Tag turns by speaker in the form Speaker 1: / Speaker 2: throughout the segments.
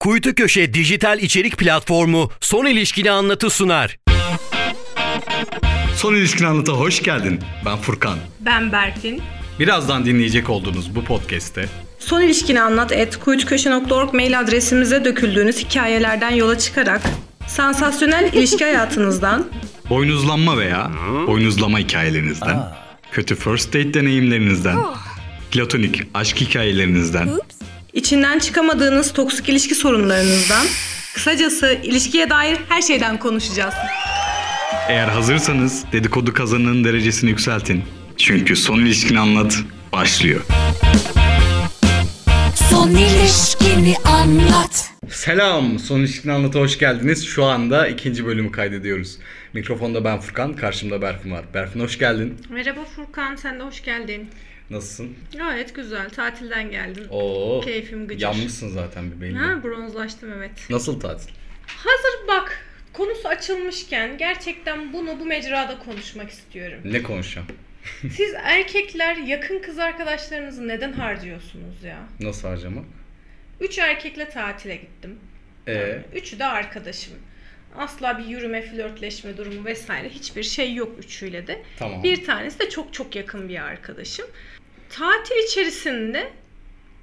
Speaker 1: Kuytu Köşe dijital içerik platformu Son İlişkili Anlatı sunar.
Speaker 2: Son ilişkin anlata hoş geldin. Ben Furkan.
Speaker 3: Ben Berkin.
Speaker 2: Birazdan dinleyecek olduğunuz bu podcast'te
Speaker 3: Son ilişkini anlat et kuytuköşe.org mail adresimize döküldüğünüz hikayelerden yola çıkarak sansasyonel ilişki hayatınızdan
Speaker 2: boynuzlanma veya boynuzlama hikayelerinizden, kötü first date deneyimlerinizden,
Speaker 3: Oh.
Speaker 2: platonik aşk hikayelerinizden,
Speaker 3: İçinden çıkamadığınız toksik ilişki sorunlarınızdan, kısacası ilişkiye dair her şeyden konuşacağız.
Speaker 2: eğer hazırsanız dedikodu kazanının derecesini yükseltin. Çünkü son ilişkin anlat başlıyor.
Speaker 4: Son ilişkini anlat.
Speaker 2: Selam, Son İlişkin Anlat'a hoş geldiniz. Şu anda ikinci bölümü kaydediyoruz. Mikrofonda ben Furkan, karşımda Berfin var. Berfin hoş geldin.
Speaker 3: Merhaba Furkan, sen de hoş geldin.
Speaker 2: Nasılsın?
Speaker 3: Gayet güzel, tatilden geldim.
Speaker 2: Oo.
Speaker 3: Keyfim gıcır.
Speaker 2: Yanmışsın zaten bir belli.
Speaker 3: Ha, bronzlaştım evet.
Speaker 2: Nasıl tatil?
Speaker 5: Hazır bak konusu açılmışken gerçekten bunu bu mecrada konuşmak istiyorum.
Speaker 2: Ne konuşacağım?
Speaker 5: Siz erkekler yakın kız arkadaşlarınızı neden harcıyorsunuz ya?
Speaker 2: Nasıl harcamak?
Speaker 5: Üç erkekle tatile gittim.
Speaker 2: Ee,
Speaker 5: Üçü de arkadaşım. Asla bir yürüme, flörtleşme durumu vesaire hiçbir şey yok üçüyle de.
Speaker 2: tamam.
Speaker 5: Bir tanesi de çok çok yakın bir arkadaşım. Tatil içerisinde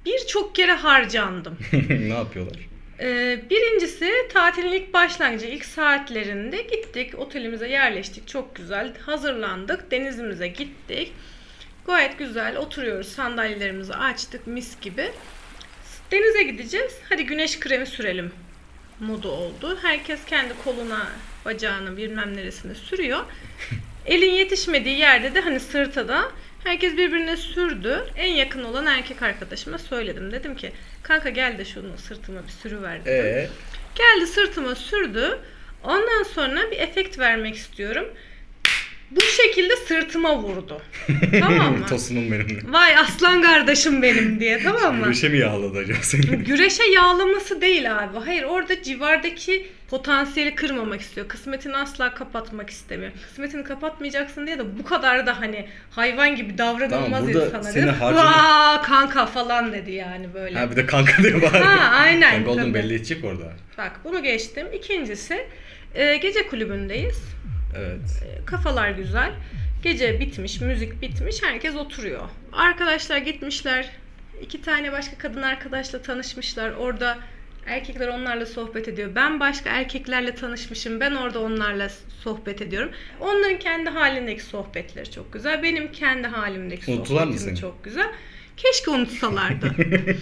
Speaker 5: birçok kere harcandım.
Speaker 2: ne yapıyorlar?
Speaker 5: Ee, birincisi tatilin ilk başlangıcı, ilk saatlerinde gittik, otelimize yerleştik, çok güzel hazırlandık, denizimize gittik. Gayet güzel oturuyoruz, sandalyelerimizi açtık mis gibi. Denize gideceğiz, hadi güneş kremi sürelim modu oldu. Herkes kendi koluna, bacağını bilmem neresine sürüyor. Elin yetişmediği yerde de hani sırtada herkes birbirine sürdü. En yakın olan erkek arkadaşıma söyledim. Dedim ki kanka gel de şunu sırtıma bir sürüver dedim.
Speaker 2: Ee,
Speaker 5: Geldi sırtıma sürdü. Ondan sonra bir efekt vermek istiyorum. Bu şekilde sırtıma vurdu. tamam mı?
Speaker 2: tosunum benimle.
Speaker 5: Vay aslan kardeşim benim diye tamam mı?
Speaker 2: Güreşe mi yağladı acaba seni?
Speaker 5: Güreşe yağlaması değil abi. Hayır orada civardaki potansiyeli kırmamak istiyor. Kısmetini asla kapatmak istemiyor. Kısmetini kapatmayacaksın diye de bu kadar da hani hayvan gibi davranılmaz
Speaker 2: Tamam, burada
Speaker 5: insana.
Speaker 2: seni
Speaker 5: dedi.
Speaker 2: harcamak-
Speaker 5: Vaa kanka falan dedi yani böyle.
Speaker 2: ha bir de kanka diye bağırıyor.
Speaker 5: Ha, aynen,
Speaker 2: Kanka oldun
Speaker 5: tabii.
Speaker 2: belli edecek orada.
Speaker 5: Bak bunu geçtim. İkincisi e, gece kulübündeyiz.
Speaker 2: Evet.
Speaker 5: Kafalar güzel. Gece bitmiş, müzik bitmiş, herkes oturuyor. Arkadaşlar gitmişler. iki tane başka kadın arkadaşla tanışmışlar. Orada erkekler onlarla sohbet ediyor. Ben başka erkeklerle tanışmışım. Ben orada onlarla sohbet ediyorum. Onların kendi halindeki sohbetleri çok güzel. Benim kendi halimdeki
Speaker 2: Unuttular mı
Speaker 5: sohbetim
Speaker 2: seni?
Speaker 5: çok güzel. Keşke unutsalardı.
Speaker 2: Ne oldu?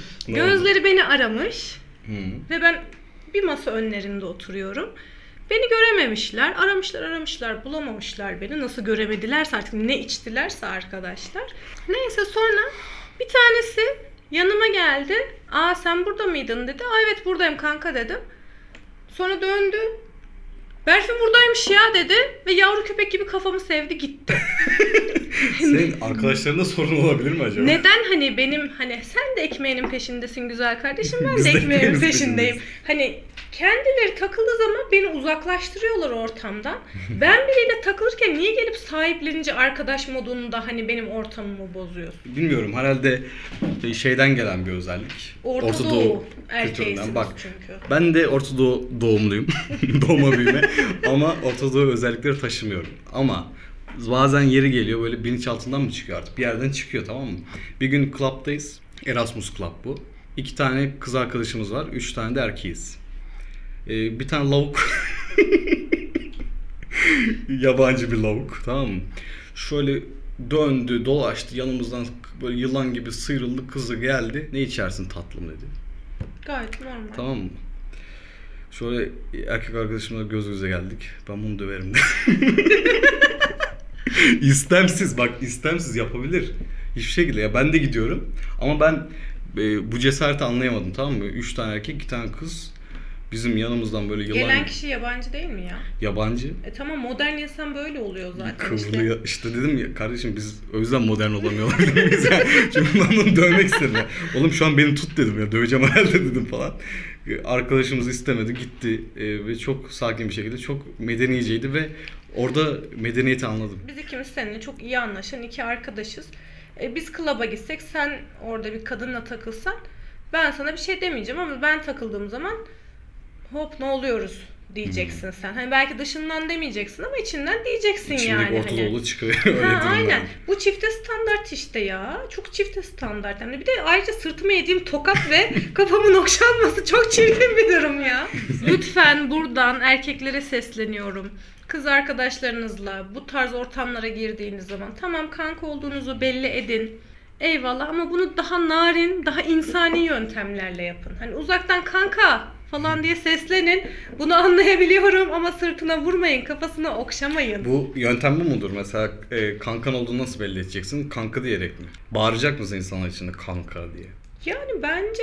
Speaker 5: Gözleri beni aramış.
Speaker 2: Hı.
Speaker 5: Ve ben bir masa önlerinde oturuyorum. Beni görememişler. Aramışlar aramışlar bulamamışlar beni. Nasıl göremedilerse artık ne içtilerse arkadaşlar. Neyse sonra bir tanesi yanıma geldi. Aa sen burada mıydın dedi. Aa evet buradayım kanka dedim. Sonra döndü. Berfin buradaymış ya dedi. Ve yavru köpek gibi kafamı sevdi gitti.
Speaker 2: Senin arkadaşlarında sorun olabilir mi acaba?
Speaker 5: Neden hani benim hani sen de ekmeğinin peşindesin güzel kardeşim ben
Speaker 2: Biz de
Speaker 5: de ekmeğimin
Speaker 2: ekmeğimiz
Speaker 5: peşindeyim.
Speaker 2: peşindeyiz.
Speaker 5: Hani kendileri takıldığı zaman beni uzaklaştırıyorlar ortamdan. Ben biriyle takılırken niye gelip sahiplenince arkadaş modunda hani benim ortamımı bozuyorsun?
Speaker 2: Bilmiyorum herhalde şeyden gelen bir özellik.
Speaker 5: Orta, Doğu, erkeğisiniz
Speaker 2: Bak
Speaker 5: çünkü.
Speaker 2: ben de Orta Doğu doğumluyum. Doğma büyüme. Ama Orta Doğu özellikleri taşımıyorum. Ama bazen yeri geliyor böyle bilinçaltından mı çıkıyor artık? Bir yerden çıkıyor tamam mı? Bir gün club'dayız. Erasmus Club bu. İki tane kız arkadaşımız var. Üç tane de erkeğiz. Ee, bir tane lavuk. Yabancı bir lavuk tamam mı? Şöyle döndü dolaştı yanımızdan böyle yılan gibi sıyrıldı kızı geldi. Ne içersin tatlım dedi.
Speaker 5: Gayet normal.
Speaker 2: Tamam mı? Şöyle erkek arkadaşımla göz göze geldik. Ben bunu döverim. istemsiz bak istemsiz yapabilir. Hiçbir şekilde ya ben de gidiyorum. Ama ben e, bu cesareti anlayamadım tamam mı? Üç tane erkek iki tane kız bizim yanımızdan böyle yılan
Speaker 5: Gelen kişi yabancı değil mi ya?
Speaker 2: yabancı
Speaker 5: E tamam modern insan böyle oluyor zaten işte.
Speaker 2: kıvrılıyor. İşte. dedim ya kardeşim biz o yüzden modern olamıyorlar dediniz ya. Çünkü ben onu dövmek istedim ya. Oğlum şu an beni tut dedim ya döveceğim herhalde dedim falan. E, Arkadaşımız istemedi gitti Ee, ve çok sakin bir şekilde çok medeniceydi ve orada medeniyeti anladım.
Speaker 5: Biz ikimiz seninle çok iyi anlaşan iki arkadaşız. E, biz klaba gitsek sen orada bir kadınla takılsan Ben sana bir şey demeyeceğim ama ben takıldığım zaman hop ne oluyoruz diyeceksin sen. Hani belki dışından demeyeceksin ama içinden diyeceksin
Speaker 2: Şimdiki
Speaker 5: yani.
Speaker 2: Orta
Speaker 5: hani.
Speaker 2: Doğulu çıkıyor öyle
Speaker 5: Ha,
Speaker 2: durumlar.
Speaker 5: aynen. Bu çifte standart işte ya. Çok çifte standart. Yani bir de ayrıca sırtıma yediğim tokat ve kafamın okşanması çok çirkin bir durum ya. Lütfen buradan erkeklere sesleniyorum. Kız arkadaşlarınızla bu tarz ortamlara girdiğiniz zaman tamam kanka olduğunuzu belli edin. Eyvallah ama bunu daha narin, daha insani yöntemlerle yapın. Hani uzaktan kanka falan diye seslenin. Bunu anlayabiliyorum ama sırtına vurmayın, kafasına okşamayın.
Speaker 2: Bu yöntem bu mudur? Mesela e, kankan olduğunu nasıl belli edeceksin? Kanka diyerek mi? Bağıracak mısın insanlar içinde kanka diye?
Speaker 5: Yani bence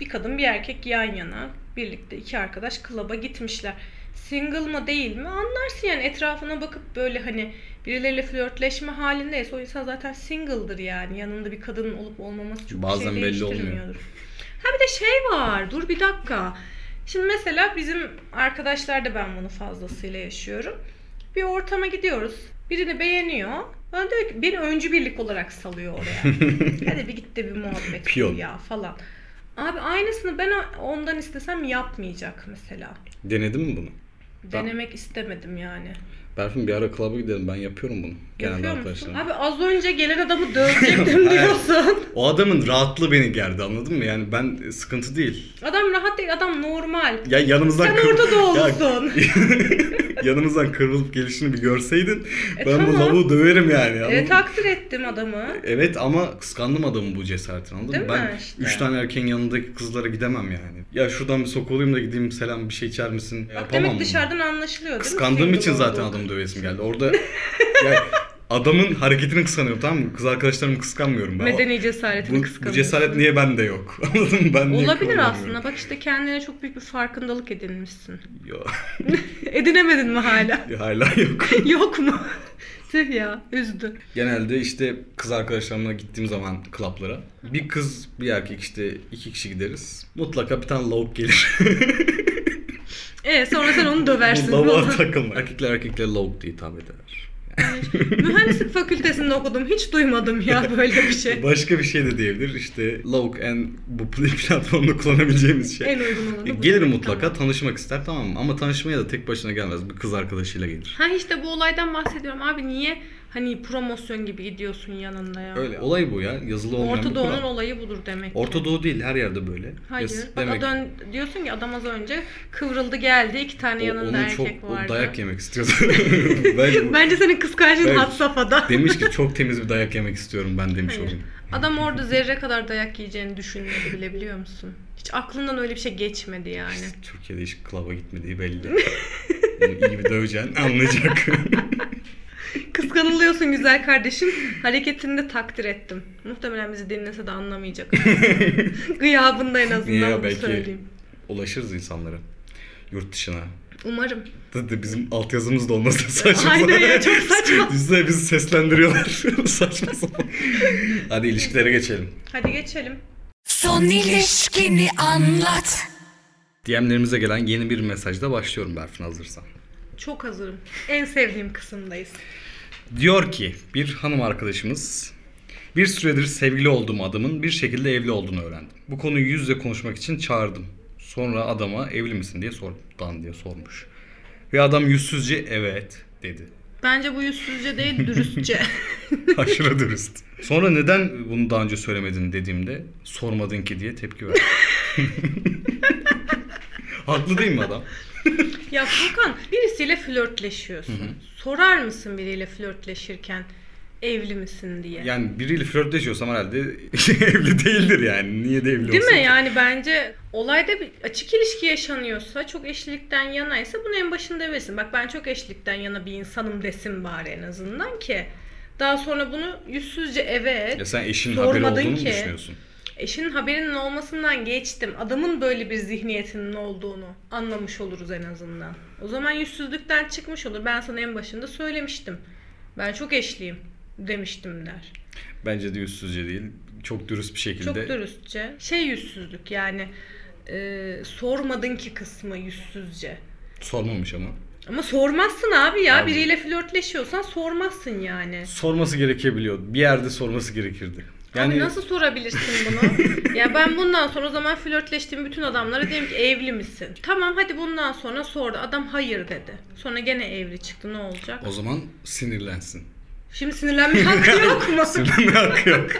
Speaker 5: bir kadın bir erkek yan yana birlikte iki arkadaş klaba gitmişler. Single mı değil mi anlarsın yani etrafına bakıp böyle hani birileriyle flörtleşme halindeyse o insan zaten single'dır yani yanında bir kadının olup olmaması çok bir
Speaker 2: Bazen
Speaker 5: şey
Speaker 2: belli
Speaker 5: değiştirmiyordur.
Speaker 2: olmuyor.
Speaker 5: Ha bir de şey var dur bir dakika. Şimdi mesela bizim arkadaşlar da ben bunu fazlasıyla yaşıyorum. Bir ortama gidiyoruz. Birini beğeniyor. Bana diyor ki beni öncü birlik olarak salıyor oraya. Hadi bir git de bir muhabbet
Speaker 2: Piyon.
Speaker 5: kur ya falan. Abi aynısını ben ondan istesem yapmayacak mesela.
Speaker 2: Denedin mi bunu?
Speaker 5: Denemek istemedim yani.
Speaker 2: Berfin bir ara klaba gidelim ben yapıyorum bunu. Genelde
Speaker 5: Yapıyor musun?
Speaker 2: arkadaşlarım.
Speaker 5: Abi az önce gelen adamı dövecektim diyorsun.
Speaker 2: O adamın rahatlığı beni gerdi anladın mı? Yani ben e, sıkıntı değil.
Speaker 5: Adam rahat değil, adam normal.
Speaker 2: Ya yanımızdan
Speaker 5: Sen
Speaker 2: kır-
Speaker 5: Orta
Speaker 2: Ya,
Speaker 5: Doğulusun.
Speaker 2: yanımızdan kırılıp gelişini bir görseydin
Speaker 5: E,
Speaker 2: ben bu
Speaker 5: tamam.
Speaker 2: lavuğu döverim yani. anladın
Speaker 5: E,
Speaker 2: mı?
Speaker 5: takdir ettim adamı.
Speaker 2: Evet ama kıskandım adamın bu cesaretini anladın
Speaker 5: Değil
Speaker 2: mı?
Speaker 5: mi?
Speaker 2: Ben 3
Speaker 5: İşte.
Speaker 2: tane erkeğin yanındaki kızlara gidemem yani. Ya şuradan bir sokulayım da gideyim selam bir şey içer misin?
Speaker 5: Bak
Speaker 2: Yapamam
Speaker 5: demek
Speaker 2: bunu.
Speaker 5: dışarıdan anlaşılıyor değil mi?
Speaker 2: Kıskandığım için
Speaker 5: Single
Speaker 2: zaten
Speaker 5: olduğu.
Speaker 2: adamı dövesim geldi. Orada yani adamın hareketini kıskanıyorum tamam mı? Kız arkadaşlarımı kıskanmıyorum ben.
Speaker 5: Medeni
Speaker 2: bu,
Speaker 5: cesaretini
Speaker 2: bu
Speaker 5: kıskanıyor.
Speaker 2: cesaret niye bende yok? Anladın mı? Ben niye
Speaker 5: Olabilir
Speaker 2: kullanamıyorum?
Speaker 5: aslında. Bak işte kendine çok büyük bir farkındalık edinmişsin.
Speaker 2: Yo,
Speaker 5: Edinemedin mi hala?
Speaker 2: hala yok.
Speaker 5: Yok mu? Tüh ya üzdü.
Speaker 2: Genelde işte kız arkadaşlarımla gittiğim zaman klaplara bir kız bir erkek işte iki kişi gideriz. Mutlaka bir tane lavuk gelir.
Speaker 5: E sonra sen onu
Speaker 2: Bu
Speaker 5: döversin.
Speaker 2: lavuğa takılma. Erkekler erkeklere lavuk diye hitap ederler.
Speaker 5: Mühendislik fakültesinde okudum. Hiç duymadım ya böyle bir şey.
Speaker 2: Başka bir şey de diyebilir işte lavuk en bu platformda kullanabileceğimiz şey.
Speaker 5: en uygun olanı
Speaker 2: E,
Speaker 5: bu.
Speaker 2: Gelir mutlaka
Speaker 5: Tamam.
Speaker 2: tanışmak ister tamam mı? Ama tanışmaya da tek başına gelmez. Bir kız arkadaşıyla gelir.
Speaker 5: Ha işte bu olaydan bahsediyorum abi niye hani promosyon gibi gidiyorsun yanında ya.
Speaker 2: Öyle olay bu ya. Yazılı olmayan
Speaker 5: Orta
Speaker 2: bir
Speaker 5: Doğu'nun
Speaker 2: kural.
Speaker 5: olayı budur demek. ki.
Speaker 2: Orta Doğu değil her yerde böyle.
Speaker 5: Hayır.
Speaker 2: Yas-
Speaker 5: Bak
Speaker 2: demek-
Speaker 5: dön, diyorsun ki adam az önce kıvrıldı geldi. iki tane
Speaker 2: O-
Speaker 5: yanında
Speaker 2: onun
Speaker 5: erkek
Speaker 2: çok o
Speaker 5: vardı.
Speaker 2: dayak yemek istiyordu. ben,
Speaker 5: Bence senin kıskançlığın
Speaker 2: Ben-
Speaker 5: had safhada.
Speaker 2: demiş ki çok temiz bir dayak yemek istiyorum ben demiş o
Speaker 5: Hayır.
Speaker 2: gün.
Speaker 5: Adam orada zerre kadar dayak yiyeceğini düşünmedi bile biliyor musun? Hiç aklından öyle bir şey geçmedi yani.
Speaker 2: İşte Türkiye'de hiç klaba gitmediği belli. Bunu iyi bir döveceksin anlayacak.
Speaker 5: Kıskanılıyorsun güzel kardeşim. Hareketini de takdir ettim. Muhtemelen bizi dinlese de anlamayacak. Gıyabında en azından
Speaker 2: Ya
Speaker 5: bunu
Speaker 2: belki-
Speaker 5: söyleyeyim.
Speaker 2: Ulaşırız insanlara. Yurt dışına.
Speaker 5: Umarım.
Speaker 2: Tabii bizim altyazımız da olmasa saçma
Speaker 5: Aynen ya, çok saçma.
Speaker 2: Bize bizi seslendiriyorlar. saçma sapan. Hadi ilişkilere geçelim.
Speaker 5: Hadi geçelim.
Speaker 4: Son ilişkini anlat.
Speaker 2: DM'lerimize gelen yeni bir mesajla başlıyorum Berfin hazırsan.
Speaker 5: Çok hazırım. En sevdiğim kısımdayız.
Speaker 2: Diyor ki bir hanım arkadaşımız bir süredir sevgili olduğum adamın bir şekilde evli olduğunu öğrendim. Bu konuyu yüz yüze konuşmak için çağırdım. Sonra adama evli misin diye sordum. Dan diye sormuş. Ve adam yüzsüzce evet dedi.
Speaker 5: Bence bu yüzsüzce değil dürüstçe.
Speaker 2: Aşırı dürüst. Sonra neden bunu daha önce söylemedin dediğimde sormadın ki diye tepki verdi. Haklı değil mi adam?
Speaker 5: ya Furkan birisiyle flörtleşiyorsun. Sorar mısın biriyle flörtleşirken evli misin diye?
Speaker 2: Yani biriyle flörtleşiyorsam herhalde evli değildir yani. Niye de evli
Speaker 5: Değil
Speaker 2: olsun
Speaker 5: mi
Speaker 2: ki?
Speaker 5: yani bence olayda bir açık ilişki yaşanıyorsa çok eşlilikten yanaysa bunu en başında verirsin. Bak ben çok eşlilikten yana bir insanım desin bari en azından ki. Daha sonra bunu yüzsüzce evet
Speaker 2: Ya sen eşinin
Speaker 5: Sormadın
Speaker 2: haberi olduğunu mu
Speaker 5: ki.
Speaker 2: düşünüyorsun?
Speaker 5: eşinin haberinin olmasından geçtim. Adamın böyle bir zihniyetinin olduğunu anlamış oluruz en azından. O zaman yüzsüzlükten çıkmış olur. Ben sana en başında söylemiştim. Ben çok eşliyim demiştim der.
Speaker 2: Bence de yüzsüzce değil. Çok dürüst bir şekilde.
Speaker 5: Çok dürüstçe. Şey yüzsüzlük yani e, sormadın ki kısmı yüzsüzce.
Speaker 2: Sormamış ama.
Speaker 5: Ama sormazsın abi ya.
Speaker 2: Abi.
Speaker 5: Biriyle flörtleşiyorsan sormazsın yani.
Speaker 2: Sorması gerekebiliyor. Bir yerde sorması gerekirdi. Yani
Speaker 5: Abi nasıl sorabilirsin bunu? ya ben bundan sonra o zaman flörtleştiğim bütün adamlara dedim ki evli misin? Tamam hadi bundan sonra sordu. Adam hayır dedi. Sonra gene evli çıktı ne olacak?
Speaker 2: o zaman sinirlensin.
Speaker 5: Şimdi sinirlenme hakkı yok mu?
Speaker 2: Sinirlenme hakkı yok.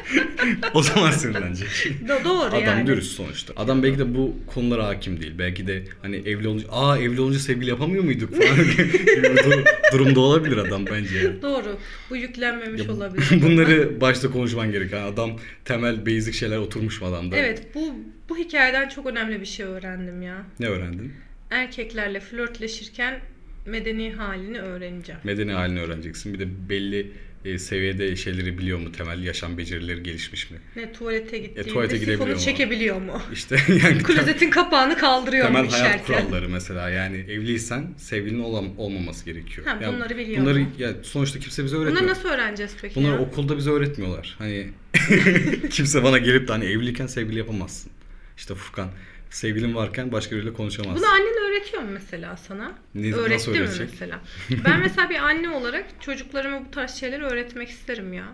Speaker 2: o zaman sinirlenecek.
Speaker 5: Do- doğru
Speaker 2: Adam
Speaker 5: yani.
Speaker 2: dürüst sonuçta. Adam belki de bu konulara hakim değil. Belki de hani evli olunca aa evli olunca sevgili yapamıyor muyduk falan gibi bir dur- durumda olabilir adam bence. yani.
Speaker 5: Doğru. Bu yüklenmemiş
Speaker 2: Ya bu-
Speaker 5: olabilir.
Speaker 2: Bunları başta konuşman gereken adam temel basic şeyler oturmuş mu adamda?
Speaker 5: Evet bu bu hikayeden çok önemli bir şey öğrendim ya.
Speaker 2: Ne öğrendin?
Speaker 5: Erkeklerle flörtleşirken medeni halini öğreneceğim.
Speaker 2: Medeni halini öğreneceksin. Bir de belli e, seviyede şeyleri biliyor mu? Temel yaşam becerileri gelişmiş mi?
Speaker 5: Ne tuvalete gittiğinde
Speaker 2: E, tuvalete gidebiliyor
Speaker 5: sifonu
Speaker 2: mu?
Speaker 5: çekebiliyor mu?
Speaker 2: İşte yani
Speaker 5: Klozetin kapağını kaldırıyor mu
Speaker 2: temel hayat
Speaker 5: işerken?
Speaker 2: kuralları mesela yani evliysen sevgilinin olan olmaması gerekiyor.
Speaker 5: Ha,
Speaker 2: Yani
Speaker 5: bunları biliyor
Speaker 2: Bunları
Speaker 5: mu?
Speaker 2: ya sonuçta kimse bize öğretmiyor.
Speaker 5: Bunları nasıl öğreneceğiz peki
Speaker 2: Bunları
Speaker 5: ya?
Speaker 2: okulda bize öğretmiyorlar. Hani kimse bana gelip de hani evliyken sevgili yapamazsın. İşte Furkan sevgilin varken başka biriyle konuşamazsın.
Speaker 5: Bunu annen öğretiyor mu mesela sana?
Speaker 2: Ne- nasıl
Speaker 5: Öğretti mi
Speaker 2: öğretecek?
Speaker 5: mesela? Ben mesela bir anne olarak çocuklarıma bu tarz şeyleri öğretmek isterim ya.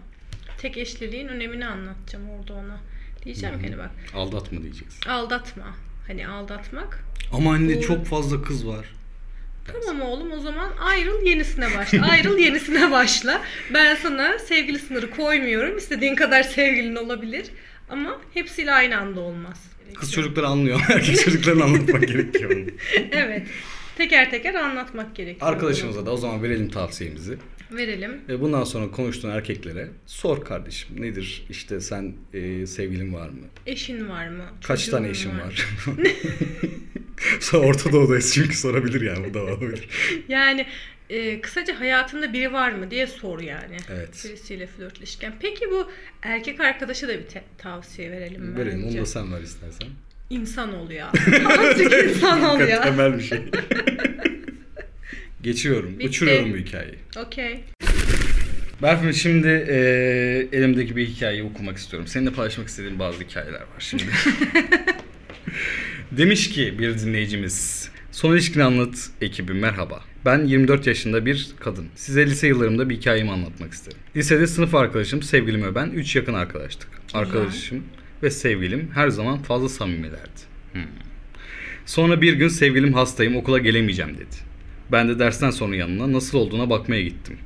Speaker 5: Tek eşliliğin önemini anlatacağım orada ona. Diyeceğim ki hani bak
Speaker 2: Aldatma diyeceksin.
Speaker 5: aldatma. Hani aldatmak.
Speaker 2: Ama anne
Speaker 5: Bu-
Speaker 2: çok fazla kız var.
Speaker 5: Tamam oğlum o zaman ayrıl yenisine başla. Ayrıl yenisine başla. Ben sana sevgili sınırı koymuyorum. İstediğin kadar sevgilin olabilir. Ama hepsiyle aynı anda olmaz.
Speaker 2: Kız çocukları anlıyor. Erkek çocuklarını anlatmak gerekiyor. bunu.
Speaker 5: Evet. Teker teker anlatmak gerekiyor.
Speaker 2: Arkadaşımıza da o zaman verelim tavsiyemizi.
Speaker 5: Verelim.
Speaker 2: E, bundan sonra konuştuğun erkeklere sor kardeşim nedir işte sen e, sevgilin var mı?
Speaker 5: Eşin var mı?
Speaker 2: Kaç
Speaker 5: Çocuğun
Speaker 2: tane eşin var? Sonra Orta Doğu'dayız çünkü sorabilir yani bu da olabilir.
Speaker 5: Yani e, kısaca hayatında biri var mı diye sor yani.
Speaker 2: Evet.
Speaker 5: Birisiyle flörtleşirken. Peki bu erkek arkadaşa da bir te- tavsiye verelim
Speaker 2: Verelim onu
Speaker 5: bence.
Speaker 2: da sen ver istersen.
Speaker 5: İnsan ol ya. Azıcık insan ol
Speaker 2: Hakikaten
Speaker 5: ya.
Speaker 2: Temel bir şey. Geçiyorum.
Speaker 5: Bitti.
Speaker 2: Uçuruyorum bu hikayeyi.
Speaker 5: Okey.
Speaker 2: Berfin şimdi e, elimdeki bir hikayeyi okumak istiyorum. Seninle paylaşmak istediğim bazı hikayeler var şimdi. Demiş ki bir dinleyicimiz. Son ilişkini anlat ekibi merhaba. Ben 24 yaşında bir kadın. Size lise yıllarımda bir hikayemi anlatmak isterim. Lisede sınıf arkadaşım sevgilim ve ben 3 yakın arkadaştık. Arkadaşım ve sevgilim her zaman fazla samimilerdi. Hmm. Sonra bir gün sevgilim hastayım okula gelemeyeceğim dedi. Ben de dersten sonra yanına nasıl olduğuna bakmaya gittim.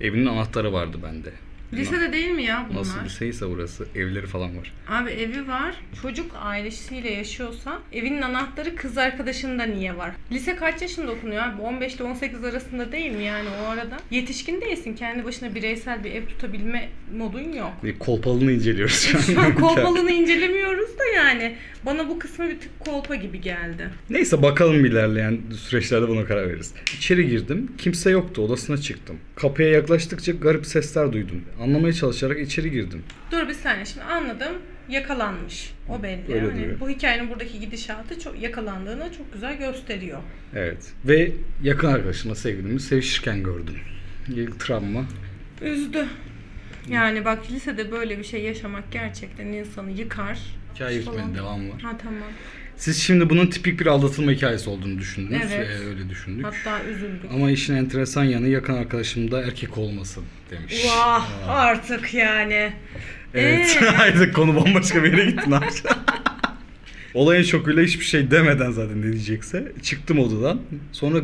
Speaker 2: Evinin anahtarı vardı bende.
Speaker 5: Lisede değil mi ya bunlar?
Speaker 2: Nasıl liseyse burası evleri falan var.
Speaker 5: Abi evi var. Çocuk ailesiyle yaşıyorsa evinin anahtarı kız arkadaşında niye var? Lise kaç yaşında okunuyor abi? 15 ile 18 arasında değil mi yani o arada? Yetişkin değilsin. Kendi başına bireysel bir ev tutabilme modun yok.
Speaker 2: Bir kolpalını inceliyoruz şu an.
Speaker 5: Şu an kolpalını incelemiyoruz da yani. Bana bu kısmı bir tık kolpa gibi geldi.
Speaker 2: Neyse bakalım ilerleyen süreçlerde buna karar veririz. İçeri girdim. Kimse yoktu. Odasına çıktım. Kapıya yaklaştıkça garip sesler duydum. Anlamaya çalışarak içeri girdim.
Speaker 5: Dur bir saniye şimdi anladım. Yakalanmış. O belli.
Speaker 2: Öyle
Speaker 5: Hani
Speaker 2: duruyor.
Speaker 5: bu hikayenin buradaki gidişatı çok yakalandığını çok güzel gösteriyor.
Speaker 2: Evet. Ve yakın arkadaşımla sevgilimi sevişirken gördüm. İlk travma.
Speaker 5: Üzdü. Yani bak lisede böyle bir şey yaşamak gerçekten insanı yıkar.
Speaker 2: Hikaye
Speaker 5: Falan.
Speaker 2: bitmedi. Devam var.
Speaker 5: Ha tamam.
Speaker 2: Siz şimdi bunun tipik bir aldatılma hikayesi olduğunu düşündünüz.
Speaker 5: Evet.
Speaker 2: Ee, öyle düşündük.
Speaker 5: Hatta üzüldük.
Speaker 2: Ama işin enteresan yanı yakın arkadaşım da erkek olması demiş.
Speaker 5: Vah artık yani.
Speaker 2: Evet. Haydi konu bambaşka bir yere gitti. Ne yapacağız? Olayın şokuyla hiçbir şey demeden zaten ne diyecekse. Çıktım odadan. Sonra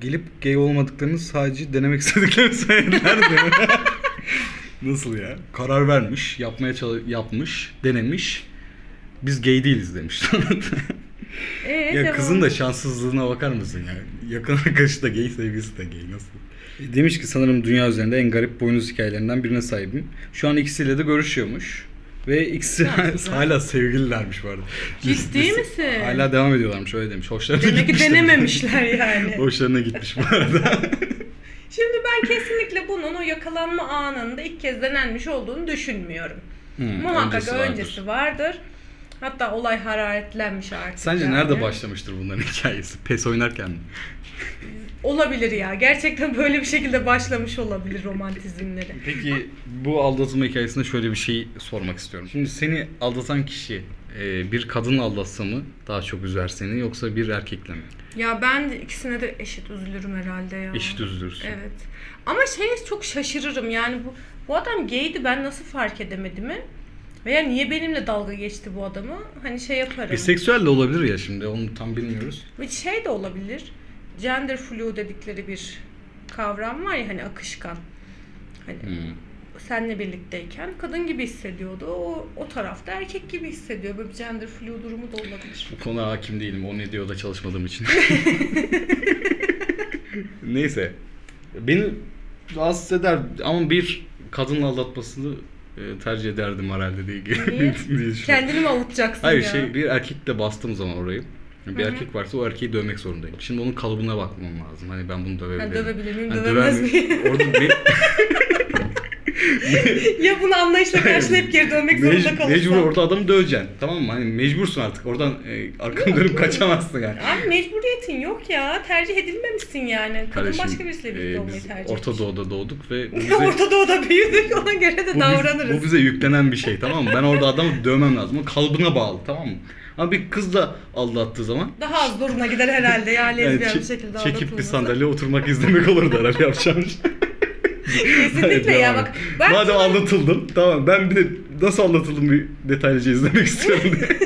Speaker 2: gelip gay olmadıklarını sadece denemek istediklerini söylediler diyor. Nasıl ya? Karar vermiş, yapmaya çalış, yapmış, denemiş. Biz gay değiliz demiş.
Speaker 5: Ee,
Speaker 2: ya
Speaker 5: devam.
Speaker 2: kızın da şanssızlığına bakar mısın ya? Yakın arkadaşı da gay, sevgilisi de gay. Nasıl? Demiş ki sanırım dünya üzerinde en garip boynuz hikayelerinden birine sahibim. Şu an ikisiyle de görüşüyormuş. Ve ikisi hala sevgililermiş bu arada.
Speaker 5: Ciddi
Speaker 2: Biz- biz-
Speaker 5: misin?
Speaker 2: Hala devam ediyorlarmış öyle demiş. Hoşlarına
Speaker 5: Demek ki
Speaker 2: gitmiş demiş.
Speaker 5: denememişler yani.
Speaker 2: Hoşlarına gitmiş bu arada.
Speaker 5: Şimdi ben kesinlikle bunun o yakalanma anında ilk kez denenmiş olduğunu düşünmüyorum.
Speaker 2: Hmm,
Speaker 5: Muhakkak
Speaker 2: öncesi
Speaker 5: öncesi
Speaker 2: vardır.
Speaker 5: vardır. Hatta olay hararetlenmiş artık.
Speaker 2: Sence
Speaker 5: yani.
Speaker 2: nerede başlamıştır bunların hikayesi? PES oynarken mi?
Speaker 5: Olabilir ya. Gerçekten böyle bir şekilde başlamış olabilir romantizmleri.
Speaker 2: Peki bu aldatılma hikayesinde şöyle bir şey sormak istiyorum. Şimdi seni aldatan kişi e, bir kadın aldatsa mı daha çok üzer seni yoksa bir erkekle mi?
Speaker 5: Ya ben de ikisine de eşit üzülürüm herhalde ya.
Speaker 2: Eşit üzülürsün.
Speaker 5: Evet. şey, Ama şeye çok şaşırırım yani bu bu adam gaydi ben nasıl fark edemedi mi? Veya niye benimle dalga geçti bu adamı? Hani şey yaparım.
Speaker 2: Biseksüel E, de olabilir ya şimdi onu tam bilmiyoruz.
Speaker 5: Ve şey de olabilir. Gender flu dedikleri bir kavram var ya hani akışkan. Hani
Speaker 2: Hmm.
Speaker 5: senle birlikteyken kadın gibi hissediyordu. O, o tarafta erkek gibi hissediyor. Böyle bir gender flu durumu da olabilir.
Speaker 2: Bu konuya hakim değilim. O ne diyor da çalışmadığım için. Neyse. Beni rahatsız eder ama bir kadınla aldatmasını e, tercih ederdim herhalde diye.
Speaker 5: Niye?
Speaker 2: diye düşünüyorum.
Speaker 5: Kendini mi avutacaksın
Speaker 2: Hayır
Speaker 5: ya?
Speaker 2: şey bir erkekle bastığım zaman orayı. Bir erkek varsa o erkeği dövmek zorundayım. Şimdi onun kalıbına bakmam lazım. Hani ben bunu dövebilirim.
Speaker 5: Ha, dövebilir miyim,
Speaker 2: Hani
Speaker 5: dövemez
Speaker 2: döver miyim? Orada bir,
Speaker 5: ya bunu anlayışla karşılayıp geri dönmek zorunda
Speaker 2: mec-
Speaker 5: kalırsan.
Speaker 2: mecbur orada adamı döveceksin. Tamam mı? Hani mecbursun artık. Oradan e, arkanı dönüp kaçamazsın yani.
Speaker 5: Abi mecburiyetin yok ya. Tercih edilmemişsin yani. Kadın
Speaker 2: Kardeşim,
Speaker 5: başka birisiyle birlikte
Speaker 2: e,
Speaker 5: olmayı
Speaker 2: biz
Speaker 5: tercih
Speaker 2: Orta
Speaker 5: etmiş.
Speaker 2: Doğu'da doğduk ve bu bize,
Speaker 5: Orta Doğu'da büyüdük. Ona göre de
Speaker 2: bu, biz-
Speaker 5: davranırız.
Speaker 2: bu bize yüklenen bir şey tamam mı? Ben orada adamı dövmem lazım. O kalıbına bağlı tamam mı? Ama bir kız da aldattığı zaman
Speaker 5: Daha az zoruna gider herhalde ya lezbiyen
Speaker 2: yani
Speaker 5: bir
Speaker 2: çe-
Speaker 5: şekilde
Speaker 2: çekip bir
Speaker 5: aldatılması.
Speaker 2: sandalyeye oturmak izlemek olurdu herhalde yapacağım şey.
Speaker 5: Kesinlikle ya
Speaker 2: Devam et.
Speaker 5: bak. Ben
Speaker 2: Madem
Speaker 5: sana-
Speaker 2: aldatıldım tamam ben bir de nasıl aldatıldım bir detaylıca izlemek istiyorum diye.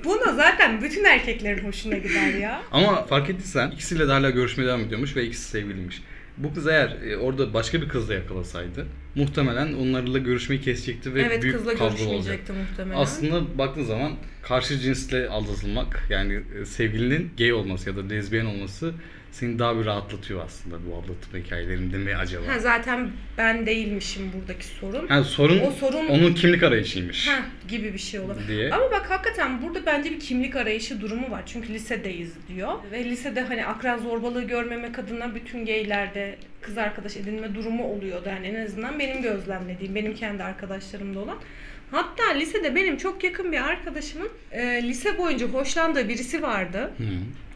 Speaker 5: buna zaten bütün erkeklerin hoşuna gider ya.
Speaker 2: Ama fark ettiysen ikisiyle de hala görüşmeye devam ediyormuş ve ikisi sevgiliymiş. Bu kız eğer e, orada başka bir kızla yakalasaydı muhtemelen onlarla görüşmeyi kesecekti ve
Speaker 5: evet
Speaker 2: büyük
Speaker 5: kızla
Speaker 2: kavga olacaktı.
Speaker 5: görüşmeyecekti muhtemelen.
Speaker 2: Aslında baktığın zaman karşı cinsle aldatılmak yani e, sevgilinin gay olması ya da lezbiyen olması seni daha bir rahatlatıyor aslında bu aldatma hikayelerinde mi acaba?
Speaker 5: Ha, zaten ben değilmişim buradaki sorun.
Speaker 2: Yani sorun,
Speaker 5: O sorun-
Speaker 2: onun kimlik arayışıymış.
Speaker 5: Ha, gibi bir şey olur.
Speaker 2: Diye.
Speaker 5: Ama bak hakikaten burada bence bir kimlik arayışı durumu var. Çünkü lisedeyiz diyor. Ve lisede hani akran zorbalığı görmemek adına bütün geylerde kız arkadaş edinme durumu oluyordu. Yani en azından benim gözlemlediğim, benim kendi arkadaşlarımda olan. Hatta lisede benim çok yakın bir arkadaşımın e, lise boyunca hoşlandığı birisi vardı.
Speaker 2: Hı.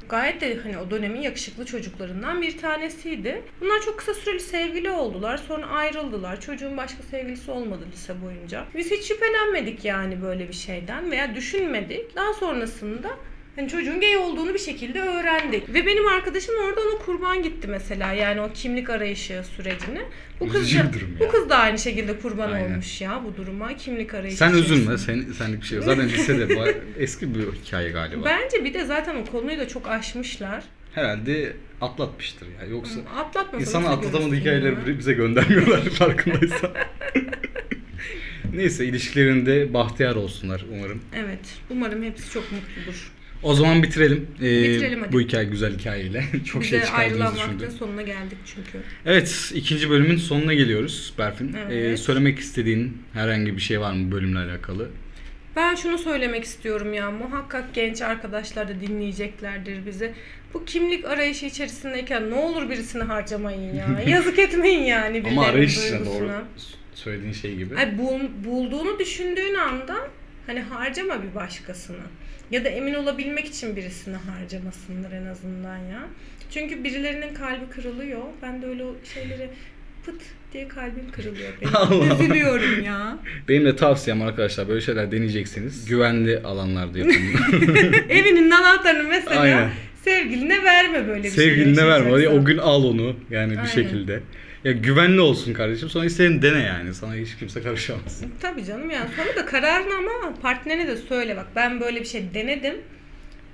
Speaker 5: Gayet de hani o dönemin yakışıklı çocuklarından bir tanesiydi. Bunlar çok kısa süreli sevgili oldular. Sonra ayrıldılar. Çocuğun başka sevgilisi olmadı lise boyunca. Biz hiç şüphelenmedik yani böyle bir şeyden veya düşünmedik. Daha sonrasında hani çocuğun gay olduğunu bir şekilde öğrendik. Ve benim arkadaşım orada ona kurban gitti mesela. Yani o kimlik arayışı sürecini. Bu kız
Speaker 2: Üzücü
Speaker 5: da,
Speaker 2: bir durum
Speaker 5: bu
Speaker 2: ya.
Speaker 5: kız da aynı şekilde kurban
Speaker 2: Aynen.
Speaker 5: olmuş ya bu duruma. Kimlik arayışı.
Speaker 2: Sen üzülme,
Speaker 5: içerisinde.
Speaker 2: sen, senlik bir şey yok. Zaten lisede ba- eski bir hikaye galiba.
Speaker 5: Bence bir de zaten o konuyu da çok aşmışlar.
Speaker 2: Herhalde atlatmıştır ya. Yoksa
Speaker 5: Atlatmasa
Speaker 2: İnsan
Speaker 5: nasıl
Speaker 2: atlatamadığı
Speaker 5: görürsün
Speaker 2: hikayeleri
Speaker 5: bunu?
Speaker 2: bir- bize göndermiyorlar farkındaysan. Neyse ilişkilerinde bahtiyar olsunlar umarım.
Speaker 5: Evet. Umarım hepsi çok mutludur.
Speaker 2: O zaman bitirelim. Ee,
Speaker 5: Bitirelim hadi.
Speaker 2: Bu hikaye güzel hikayeyle. Çok
Speaker 5: Biz
Speaker 2: şey
Speaker 5: de ayrılan
Speaker 2: çıkardığımızı
Speaker 5: vaktin
Speaker 2: düşündüm.
Speaker 5: sonuna geldik çünkü.
Speaker 2: Evet ikinci bölümün sonuna geliyoruz Berfin. Ee,
Speaker 5: Evet.
Speaker 2: söylemek istediğin herhangi bir şey var mı bölümle alakalı?
Speaker 5: Ben şunu söylemek istiyorum ya. Muhakkak genç arkadaşlar da dinleyeceklerdir bizi. Bu kimlik arayışı içerisindeyken ne olur birisini harcamayın ya. Yazık etmeyin yani birilerinin
Speaker 2: Ama arayış içine
Speaker 5: duygusuna.
Speaker 2: doğru s- söylediğin şey gibi.
Speaker 5: Ay, bul- bulduğunu düşündüğün anda hani harcama bir başkasını. Ya da emin olabilmek için birisini harcamasınlar en azından ya. Çünkü birilerinin kalbi kırılıyor. Ben de öyle o şeyleri pıt diye kalbim kırılıyor
Speaker 2: Allah
Speaker 5: benim.
Speaker 2: Allah.
Speaker 5: Üzülüyorum ya.
Speaker 2: Benim de tavsiyem arkadaşlar böyle şeyler deneyeceksiniz. Güvenli alanlarda yapın.
Speaker 5: Evinin anahtarını mesela
Speaker 2: Aynen.
Speaker 5: sevgiline verme böyle bir şey.
Speaker 2: Sevgiline verme. Hadi
Speaker 5: yaşayacaksan.
Speaker 2: O gün al onu yani
Speaker 5: Aynen.
Speaker 2: bir şekilde. Ya güvenli olsun kardeşim. Sonra istediğini dene yani. Sana hiç kimse karışamaz.
Speaker 5: Tabii canım yani sonra da kararını ama partnerine de söyle bak ben böyle bir şey denedim.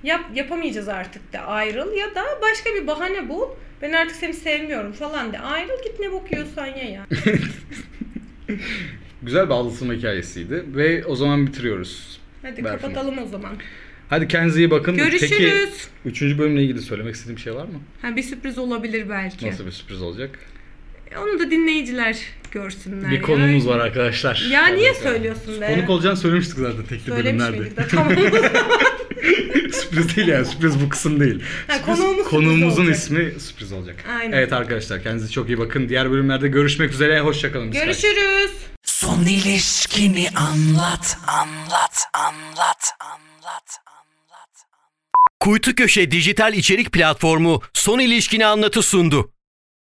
Speaker 5: Yap, yapamayacağız artık de ayrıl ya da başka bir bahane bul. Ben artık seni sevmiyorum falan de ayrıl git ne bok yiyorsan ye ya.
Speaker 2: Güzel bir aldatılma hikayesiydi ve o zaman bitiriyoruz.
Speaker 5: Hadi
Speaker 2: Berfin.
Speaker 5: kapatalım o zaman.
Speaker 2: Hadi kendinize iyi bakın. Peki
Speaker 5: Görüşürüz.
Speaker 2: üçüncü bölümle ilgili söylemek istediğim şey var mı?
Speaker 5: Ha, bir sürpriz olabilir belki. E,
Speaker 2: Nasıl bir sürpriz olacak?
Speaker 5: Onu da dinleyiciler görsünler.
Speaker 2: bir
Speaker 5: ya.
Speaker 2: konumuz var arkadaşlar.
Speaker 5: Ya niye
Speaker 2: Arkadaşlar.
Speaker 5: söylüyorsun be?
Speaker 2: Konuk olacağını söylemiştik zaten tekli
Speaker 5: Söylemiş
Speaker 2: bölümlerde.
Speaker 5: miydik de tamam.
Speaker 2: sürpriz değil yani sürpriz bu kısım değil.
Speaker 5: Ha,
Speaker 2: Sürpriz-
Speaker 5: konuğumuz sürpriz
Speaker 2: konuğumuzun
Speaker 5: olacak.
Speaker 2: ismi sürpriz olacak.
Speaker 5: Aynen.
Speaker 2: Evet arkadaşlar kendinize çok iyi bakın. Diğer bölümlerde görüşmek üzere. Hoşçakalın. Biz kaçtık.
Speaker 5: Görüşürüz.
Speaker 4: Son ilişkini anlat, anlat, anlat, anlat, anlat.
Speaker 1: Kuytu Köşe dijital içerik platformu Son İlişkini Anlat'ı sundu.